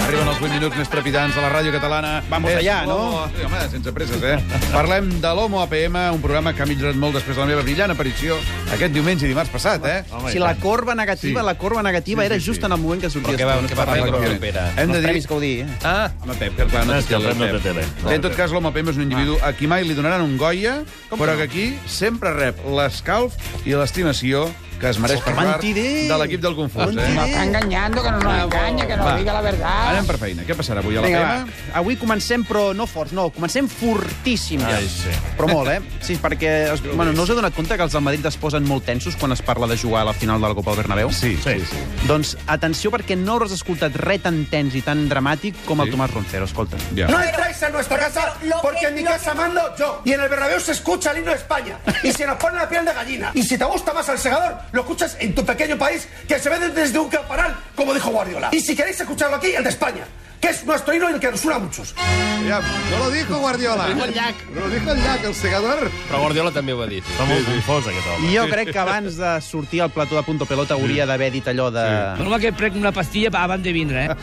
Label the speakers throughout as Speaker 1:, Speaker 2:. Speaker 1: Arriben els 8 minuts més trepidants de la ràdio catalana.
Speaker 2: Vamos
Speaker 1: És
Speaker 2: allá, no?
Speaker 1: l'Homo- Sí, home, sense presses, eh? Parlem de l'Homo APM, un programa que ha millorat molt després de la meva brillant aparició aquest diumenge i dimarts passat, eh?
Speaker 2: Si la corba negativa,
Speaker 1: Sí.
Speaker 2: la corba negativa
Speaker 1: Sí, sí,
Speaker 2: era
Speaker 1: sí.
Speaker 2: just en el moment que sorties.
Speaker 3: Però què va-
Speaker 2: tu, no
Speaker 1: Doncs
Speaker 3: què
Speaker 2: es
Speaker 3: va
Speaker 2: parla
Speaker 3: fer
Speaker 2: de
Speaker 3: la
Speaker 2: corba.
Speaker 3: propera?
Speaker 1: Hem de
Speaker 2: Els
Speaker 1: dir...
Speaker 2: premis Gaudí, eh?
Speaker 3: Ah,
Speaker 1: No té, que clar, no,
Speaker 3: No, és que el
Speaker 1: té,
Speaker 3: Fred no té tele.
Speaker 1: Bé, En tot cas, l'home PM és un individu a qui mai li donaran un Goya, però que aquí sempre rep l'escalf i l'estimació que es mereix per part
Speaker 2: mentider!
Speaker 1: de l'equip del Confús.
Speaker 2: Mentider!
Speaker 1: Eh?
Speaker 4: Está engañando, que no
Speaker 5: Ah,
Speaker 4: nos engañe, que nos
Speaker 1: Va.
Speaker 4: diga la verdad.
Speaker 1: Anem per feina. Què passarà avui a la
Speaker 2: Vinga,
Speaker 1: PM?
Speaker 2: va. Avui comencem, però no forts, no. Comencem fortíssim, ja.
Speaker 3: Ai, sí.
Speaker 2: Però molt, eh? Sí, perquè... Es... Bueno, no us heu donat compte que els del Madrid es posen molt tensos quan es parla de jugar a la final de la Copa del Bernabéu?
Speaker 1: Sí, sí,
Speaker 3: Sí.
Speaker 1: sí.
Speaker 2: Doncs atenció, perquè no hauràs escoltat res tan tens i tan dramàtic com
Speaker 1: Sí?
Speaker 2: el Tomàs Roncero. Escolta.
Speaker 1: Ja.
Speaker 6: No entráis a nuestra casa porque en mi casa mando yo. Y en el Bernabéu se escucha el himno de España. Y se nos pone la piel de gallina. Y si te gusta más el segador, lo escuchas en tu pequeño país que se ve desde un campanal, como dijo Guardiola. Y si queréis escucharlo aquí, el de España, que es nuestro himno y el que nos une a muchos.
Speaker 7: Aviam, no lo dijo Guardiola. Lo dijo el llac. Lo dijo el llac, el segador.
Speaker 8: Però Guardiola també ho ha dit.
Speaker 3: Està molt confós, aquest home.
Speaker 2: Jo crec que abans de sortir al plató de Punto Pelota hauria d'haver dit allò de...
Speaker 5: Perdona que prec una pastilla abans de vindre, eh?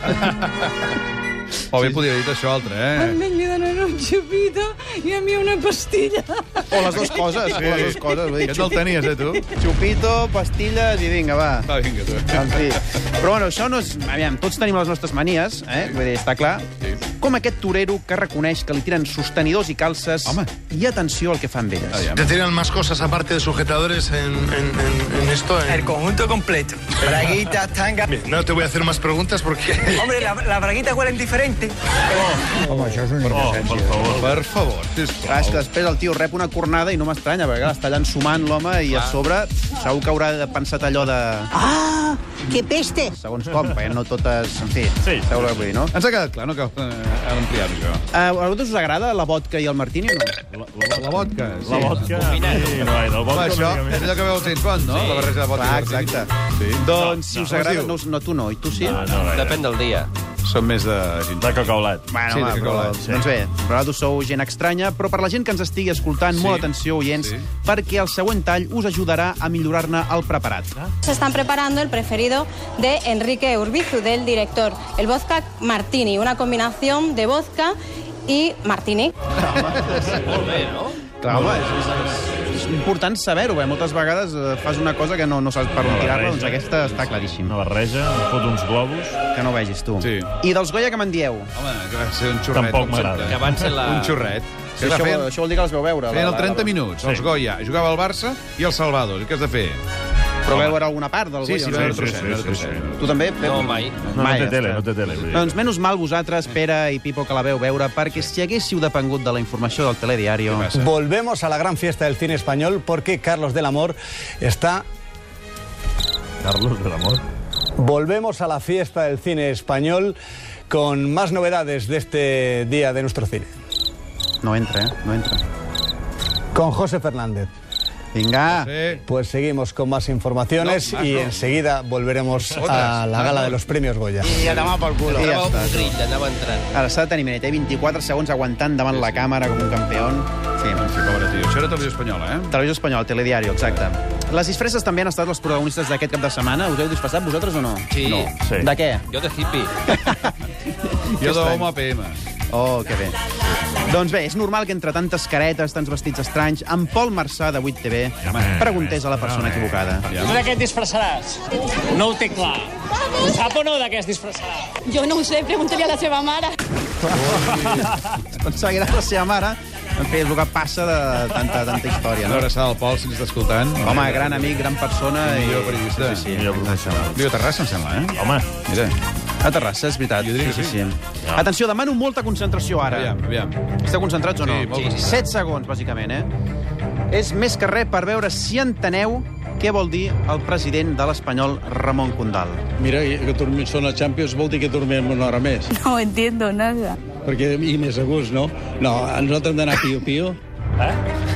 Speaker 1: O bé podia haver dit això altre, eh?
Speaker 9: Li donen un xupito i a mi una pastilla.
Speaker 2: O les dues coses, o les dues coses. Vull dir,
Speaker 1: Aquest el tenies, eh, tu?
Speaker 2: Xupito, pastilles i vinga, va.
Speaker 1: Va, vinga, tu.
Speaker 2: En fi. Doncs Però bueno, això no és... Aviam, tots tenim les nostres manies, eh? Vull dir, està clar.
Speaker 1: Sí.
Speaker 2: Com aquest torero que reconeix que li tiren sostenidors i calces
Speaker 1: Home.
Speaker 2: i atenció al que fan d'elles.
Speaker 1: Aviam.
Speaker 7: Te tiran más cosas aparte de sujetadores en, en- en- en esto. en-
Speaker 6: conjunto completo. Braguitas, tangas.
Speaker 7: Bien, no te voy a hacer más preguntas porque...
Speaker 6: Hombre, las braguitas huelen diferente.
Speaker 3: Oh, per favor.
Speaker 1: Per favor, sisplau.
Speaker 2: Clar, és que després el tio rep una cornada i no m'estranya, perquè clar, està ensumant l'home i a sobre segur que haurà pensat allò de...
Speaker 9: Ah, que peste!
Speaker 2: Segons com, perquè no totes... En fi,
Speaker 3: Sí.
Speaker 2: sabeu què vull dir, no?
Speaker 1: Ens ha quedat clar, no cal eh, ampliar-ho, això.
Speaker 2: Uh, a vosaltres us agrada la vodka i el martini o no?
Speaker 1: La vodka. Sí.
Speaker 3: La vodka... Sí, no, el
Speaker 1: Va,
Speaker 3: vodka
Speaker 1: això
Speaker 3: una mica
Speaker 1: és
Speaker 3: més.
Speaker 1: allò que veu el James Bond, no? La barreja de vodka.
Speaker 2: Clar,
Speaker 1: i martini.
Speaker 2: exacte.
Speaker 1: Sí.
Speaker 2: Doncs si
Speaker 3: no,
Speaker 2: us
Speaker 3: no es
Speaker 2: agrada...
Speaker 3: diu.
Speaker 2: No, us- no, tu no, i tu sí?
Speaker 3: No, Ah, no, gaire.
Speaker 8: Depèn del dia.
Speaker 1: Som més de...
Speaker 3: De cacaulat.
Speaker 2: Bueno,
Speaker 1: Sí,
Speaker 2: va,
Speaker 1: de
Speaker 2: però,
Speaker 1: cola,
Speaker 3: sí.
Speaker 2: doncs bé, a vegades sou gent estranya, però per la gent que ens estigui escoltant,
Speaker 1: Sí.
Speaker 2: molt atenció, oients,
Speaker 1: Sí.
Speaker 2: perquè el següent tall us ajudarà a millorar-ne el preparat.
Speaker 9: Se están preparando el preferido de Enrique Urbizu, del director. El vodka martini, una combinación de vodka y martini.
Speaker 2: Clar, home, és, és, és important saber-ho, perquè moltes vegades eh, fas una cosa que no, no saps per on tirar-la,
Speaker 1: eh?
Speaker 2: doncs aquesta està claríssim,
Speaker 3: Una barreja, em fot uns globus...
Speaker 2: que no ho vegis tu.
Speaker 1: Sí.
Speaker 2: I dels Goya que me'n dieu?
Speaker 1: Home, que va ser un xurret.
Speaker 3: Tampoc
Speaker 1: com sempre.
Speaker 3: m'agrada.
Speaker 8: Que van ser la...
Speaker 1: Un xurret.
Speaker 2: Sí,
Speaker 1: Que la
Speaker 2: això,
Speaker 1: feien,
Speaker 2: això vol dir que els vau veure.
Speaker 1: feien
Speaker 2: la-
Speaker 1: el
Speaker 2: la-
Speaker 1: 30
Speaker 2: la-
Speaker 1: minuts, els Goya. Jugava el Barça i el Salvador. I què has de fer?
Speaker 2: Però vau veure alguna part del
Speaker 1: Sí,
Speaker 2: Goya?
Speaker 1: sí,
Speaker 2: no?
Speaker 1: va
Speaker 3: sí,
Speaker 1: veure
Speaker 3: sí,
Speaker 1: trosset,
Speaker 3: sí,
Speaker 1: va veure
Speaker 3: sí, sí.
Speaker 1: trosset.
Speaker 2: Tu també, Pep?
Speaker 8: No, mai.
Speaker 3: No, no té
Speaker 2: ja
Speaker 3: tele,
Speaker 2: està.
Speaker 3: no té tele. vull dir.
Speaker 2: Doncs menys mal vosaltres, Pere i Pipo, que la veu veure, perquè si haguéssiu depengut de la informació del telediario...
Speaker 1: Què passa?
Speaker 6: Volvemos a la gran fiesta del cine español porque Carlos del Amor está
Speaker 3: Carlos de l'amor.
Speaker 6: Volvemos a la fiesta del cine español con más novedades de este día de nuestro cine.
Speaker 2: No entra, eh? No entra.
Speaker 6: Con José Fernández.
Speaker 2: Vinga!
Speaker 1: Sí.
Speaker 6: Pues seguimos con más
Speaker 1: Eh.
Speaker 6: informaciones
Speaker 1: No, más
Speaker 6: y
Speaker 1: no.
Speaker 6: enseguida volveremos a
Speaker 1: Otras.
Speaker 6: la gala de los premios Goya.
Speaker 8: I a demà pel cul.
Speaker 2: I ja
Speaker 8: Anava
Speaker 2: està.
Speaker 8: un grill, anava entrant.
Speaker 2: Ara s'ha de tenir minut, eh? 24 segons aguantant davant la càmera com un campió. Sí.
Speaker 1: Sí, pobre tio. Això era televisió espanyola, eh?
Speaker 2: Televisió Espanyol, Telediario, exacte. Les disfresses també han estat les protagonistes d'aquest cap de setmana. Us heu disfressat vosaltres o no?
Speaker 8: Sí.
Speaker 1: No.
Speaker 3: Sí.
Speaker 2: De què?
Speaker 8: Jo de hippie.
Speaker 1: Jo d'home PM.
Speaker 2: Oh, que bé. Doncs bé, és normal que entre tantes caretes, tants vestits estranys, en Pol Marçà, de 8TV, preguntés a la persona equivocada.
Speaker 5: Tu de què et disfressaràs? No ho té clar. Ho sap o no de què es disfressarà?
Speaker 9: Yo no sé, pregúntale a la seva mare.
Speaker 2: Pensava que era la seva mare. En fi, és el que passa de tanta, tanta història,
Speaker 1: Una
Speaker 2: no?
Speaker 1: abraçada al Pol, si ens està escoltant.
Speaker 2: Home, gran amic, gran persona i...
Speaker 1: Millor periodista.
Speaker 2: Sí, sí.
Speaker 3: Millor professional.
Speaker 1: Viu a Terrassa, em sembla, eh?
Speaker 3: Home,
Speaker 1: Mira.
Speaker 2: A Terrassa, és veritat. Jo
Speaker 1: diria
Speaker 2: sí,
Speaker 1: que
Speaker 2: sí, sí. Atenció, demano molta concentració ara.
Speaker 1: Aviam, aviam.
Speaker 2: Esteu concentrats o no?
Speaker 1: Sí, molt Sí, sí.
Speaker 2: 7 segons, bàsicament, eh? És més que res per veure si enteneu què vol dir el president de l'Espanyol, Ramon Condal.
Speaker 6: Mira, que dormim, són a Champions vol dir que dormim una hora més.
Speaker 9: No entiendo nada.
Speaker 6: Perquè i més a gust, no? No, nosaltres hem d'anar pio-pio.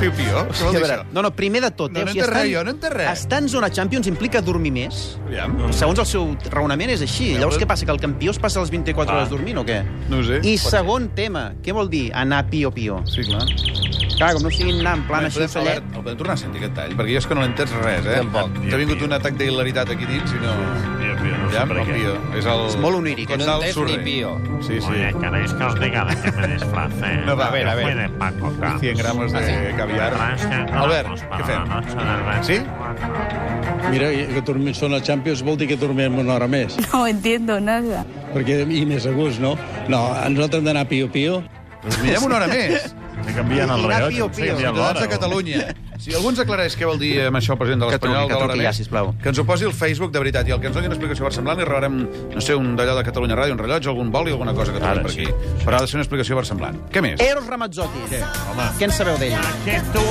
Speaker 1: Piu, piu. Què vol dir això?
Speaker 2: No, no, primer de tot.
Speaker 1: No,
Speaker 2: eh?
Speaker 1: no
Speaker 2: O sigui,
Speaker 1: entenc
Speaker 2: estar en-
Speaker 1: res, jo, no entenc res.
Speaker 2: Estar en zona Champions implica dormir més.
Speaker 1: Aviam. doncs,
Speaker 2: Segons el seu raonament és així. Llavors què passa, que el campió es passa les 24
Speaker 3: Ah.
Speaker 2: hores dormint o què?
Speaker 1: No ho sé.
Speaker 2: I segon tema, què vol dir anar pio-pio?
Speaker 1: Sí, clar.
Speaker 2: Clar, com no siguin anar en plan
Speaker 1: Bueno,
Speaker 2: així,
Speaker 1: podem,
Speaker 2: ocellet...
Speaker 1: Albert, el podem tornar a sentir, aquest tall? Perquè jo és que no l'he entès res, eh?
Speaker 8: Tampoc.
Speaker 1: T'ha vingut un atac d'hilaritat aquí dins i no...
Speaker 3: Pio, pio, no sé
Speaker 1: Aviam,
Speaker 3: per
Speaker 1: el
Speaker 3: què.
Speaker 1: Pio. És, el...
Speaker 2: És molt oníric,
Speaker 1: és
Speaker 8: eh? No
Speaker 1: el
Speaker 8: entens
Speaker 1: sorrer.
Speaker 8: ni pio.
Speaker 1: Sí, sí.
Speaker 3: ¿Queréis que os diga de qué me disfracé?
Speaker 1: No, va, a
Speaker 8: ver, a
Speaker 3: Yo fui
Speaker 8: ver.
Speaker 3: de Paco Camps.
Speaker 1: 100 gramos de caviar. Albert, què fem? Sí?
Speaker 10: Mira, que dormim són a Champions vol dir que dormim una hora més.
Speaker 9: No entiendo nada.
Speaker 10: Perquè, i més a gust, no? No, a nosaltres hem d'anar pio-pio.
Speaker 1: Doncs mirem una hora més.
Speaker 3: Se canvien
Speaker 2: I
Speaker 3: el
Speaker 2: anar
Speaker 3: rellotge.
Speaker 2: pio,
Speaker 3: se
Speaker 2: pio.
Speaker 3: canvia l'hora,
Speaker 1: Ciutadans de
Speaker 3: o-
Speaker 1: Catalunya. Si algú ens aclareix què vol dir eh, amb això el president de
Speaker 2: Que truqui,
Speaker 1: l'Espanyol
Speaker 2: que
Speaker 1: de l'hora
Speaker 2: truqui ja,
Speaker 1: més,
Speaker 2: sisplau.
Speaker 1: que ens ho posi al Facebook, de veritat, i el que ens doni una explicació versemblant li regalarem, no sé, un d'allò de Catalunya Ràdio, un rellotge, algun boli, alguna cosa que
Speaker 3: Ara
Speaker 1: trobi per
Speaker 3: sí. Eh.
Speaker 1: aquí. Però ha de ser una explicació versemblant. Què més?
Speaker 2: Eros Ramazzotti. Què,
Speaker 1: home.
Speaker 2: Què en sabeu d'ell?
Speaker 3: Que tu...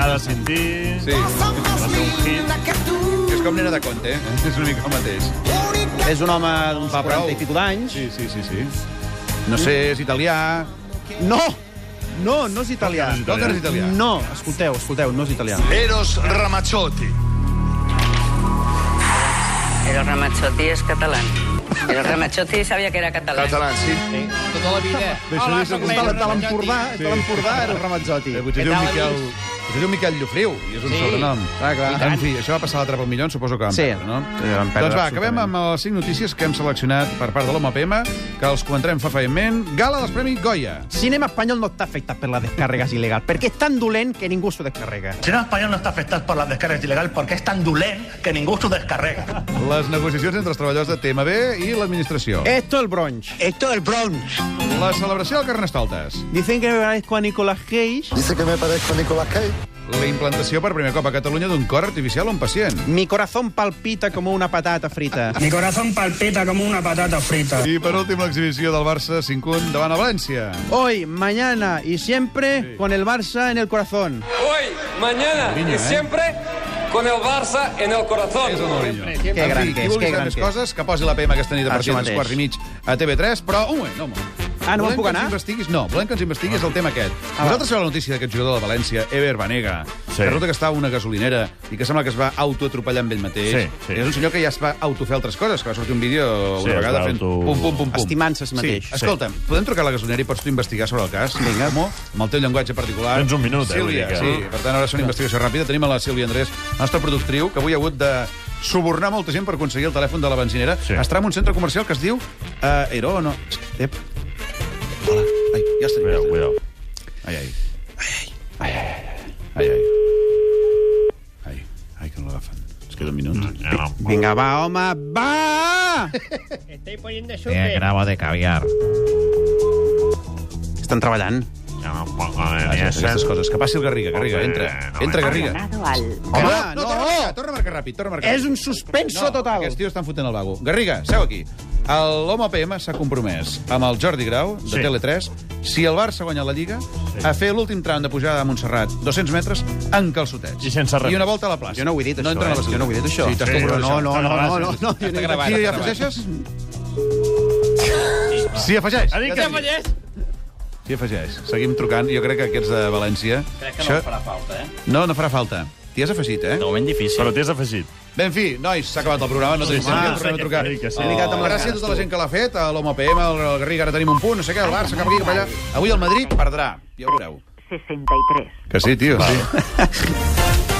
Speaker 3: Nada sin ti.
Speaker 1: Sí, és com nena de conte, eh? És una mica el mateix.
Speaker 2: És un home d'uns 40 i pico d'anys.
Speaker 1: Sí, sí, sí, sí. No sé, és italià...
Speaker 2: No! No, no és italià.
Speaker 1: No que és italià.
Speaker 2: No, escolteu, escolteu, no és italià.
Speaker 7: Eros Ramazzotti.
Speaker 11: El Ramazzotti és català. El Ramazzotti sabia que era català.
Speaker 7: Català, sí.
Speaker 8: Tota la vida.
Speaker 2: Hola, soc de de l'Empordà, és de l'Empordà, Eros Ramazzotti.
Speaker 1: Eh, potser
Speaker 8: Què
Speaker 1: diu
Speaker 8: tal,
Speaker 1: Miquel...
Speaker 8: amics?
Speaker 1: Potser diu Miquel Llofriu, i és un
Speaker 8: Sí.
Speaker 1: sobrenom.
Speaker 2: Clar, clar.
Speaker 1: I tant. En fi, això va passar a la trapa al millón, suposo que vam
Speaker 2: Sí.
Speaker 1: perdre, no?
Speaker 2: Sí, vam perdre,
Speaker 1: doncs va, acabem
Speaker 2: absolutament.
Speaker 1: amb les 5 notícies que hem seleccionat per part de l'Home PM, que els comentarem fefaentment. Gala dels Premis Goya.
Speaker 2: Cinema espanyol no està afectat per les descàrregues il·legals, perquè és tan dolent que ningú s'ho descarrega.
Speaker 10: Cinema espanyol no està afectat per les descarregues il·legals perquè és tan dolent que ningú s'ho descarrega.
Speaker 1: Les negociacions entre els treballadors de TMB i l'administració.
Speaker 2: Esto el bronx.
Speaker 10: Esto del Bronx.
Speaker 1: La celebració del Carnestoltes.
Speaker 2: Dicen que me parezco a Nicolas Cage.
Speaker 7: Dice que me parezco a Nicolás Cage.
Speaker 1: La implantació per primer cop a Catalunya d'un cor artificial a un pacient.
Speaker 2: Mi corazón palpita como una patata frita.
Speaker 5: Mi corazón palpita como una patata frita.
Speaker 1: I per últim, l'exhibició del Barça 5-1 davant a València.
Speaker 2: Hoy, mañana y siempre con el Barça en el corazón.
Speaker 11: Hoy, mañana
Speaker 1: Mourinho, eh?
Speaker 11: siempre con el Barça en el corazón.
Speaker 1: És el Mourinho.
Speaker 2: Que
Speaker 1: En fi,
Speaker 2: gran que
Speaker 1: qui
Speaker 2: és,
Speaker 1: vulgui saber
Speaker 2: que gran
Speaker 1: més
Speaker 2: que és. Ah,
Speaker 1: coses, que posi la PM aquesta nit a
Speaker 2: Això
Speaker 1: partir de les
Speaker 2: mateix.
Speaker 1: quarts i mig a TV3, però un moment, no, un moment.
Speaker 2: Ah, no
Speaker 1: volem
Speaker 2: me'n puc
Speaker 1: que
Speaker 2: anar? Ah.
Speaker 1: ens investiguis? No, volem que ens investiguis el tema aquest.
Speaker 2: va.
Speaker 1: Vosaltres sabeu la notícia d'aquest jugador de València, Ever Banega,
Speaker 3: Sí.
Speaker 1: que resulta que estava a una gasolinera i que sembla que es va autoatropellar amb ell mateix.
Speaker 3: Sí, sí.
Speaker 1: És un senyor que ja es va autofer altres coses, que va sortir un vídeo
Speaker 3: Sí,
Speaker 1: una
Speaker 3: es
Speaker 1: vegada
Speaker 3: va
Speaker 1: fent
Speaker 3: auto-
Speaker 1: pum, pum, pum, pum.
Speaker 2: Estimant-se es mateix.
Speaker 1: Sí. Escolta'm, podem trucar a la gasolinera i pots tu investigar sobre el cas? Vinga. Mo, amb el teu llenguatge particular.
Speaker 3: Tens un minut, eh,
Speaker 1: Sílvia,
Speaker 3: vull dir que-
Speaker 1: sí. Per tant, ara és una investigació ràpida. Tenim a la Sílvia Andrés, nostra productriu, que avui ha hagut de subornar molta gent per aconseguir el telèfon de la benzinera.
Speaker 3: Sí.
Speaker 1: Sí. Estarà en un centre comercial que es diu uh, Ero o no? Ep. Hola. Ai, ja està.
Speaker 3: Cuidao, cuidao.
Speaker 1: Ai, ai. Ai, ai. Ai, ai. Ai, ai, que no l'agafen. Ens queda un minut.
Speaker 3: Mm, Ja no.
Speaker 2: Vinga, va, home, va!
Speaker 5: Estoy poniendo
Speaker 3: Té Eh, grava de caviar.
Speaker 2: Estan treballant.
Speaker 3: Ja no puc haver ni
Speaker 1: Aquestes aquestes
Speaker 3: essent.
Speaker 1: coses. Que passi el Garriga, Garriga, entra.
Speaker 3: No,
Speaker 1: Entra,
Speaker 3: no.
Speaker 1: Garriga.
Speaker 2: Home,
Speaker 1: Home, no,
Speaker 2: no!
Speaker 1: torna a marcar, torna a marcar ràpid, torna a marcar.
Speaker 2: És un suspenso total.
Speaker 1: Aquests tios estan fotent el vago. Garriga, seu aquí. El- L'home PM s'ha compromès amb el Jordi Grau, de
Speaker 3: Sí.
Speaker 1: Tele3, si el Barça guanya la Lliga, a fer l'últim tram de pujada a Montserrat, 200 metres, en calçotets.
Speaker 3: I sense res.
Speaker 1: I una volta a la plaça.
Speaker 2: Jo no ho he dit,
Speaker 1: No
Speaker 2: això,
Speaker 1: entra
Speaker 2: eh?
Speaker 1: a la
Speaker 2: Jo no ho he dit, això.
Speaker 1: Sí, t'has
Speaker 3: Sí,
Speaker 1: compromès.
Speaker 3: no,
Speaker 2: No, no, no, no, no.
Speaker 1: Està
Speaker 2: no.
Speaker 1: gravat,
Speaker 8: Qui
Speaker 1: Qui hi
Speaker 8: hi
Speaker 1: afegeixes? Sí, afegeix.
Speaker 3: Ha dit que sí.
Speaker 1: Sí, afegeix. Seguim trucant. Jo crec que aquests de València... Crec que no farà falta, eh? No, no farà falta. T'hi has afegit, eh? No.
Speaker 3: moment difícil. Però t'hi has afegit.
Speaker 1: Bé, en fi, nois, s'ha acabat el programa. No tenim sí,
Speaker 3: sí,
Speaker 1: temps,
Speaker 3: sí,
Speaker 1: tornem a trucar.
Speaker 3: sí, que sí.
Speaker 1: He ligat amb la
Speaker 3: Oh.
Speaker 1: gràcia a tota la gent que l'ha fet, a l'Home PM, al al Garriga, ara tenim un punt, no sé què, el Barça, cap aquí, cap allà. Avui el Madrid perdrà, ja ho veureu.
Speaker 11: 63.
Speaker 1: Que sí, tio, sí.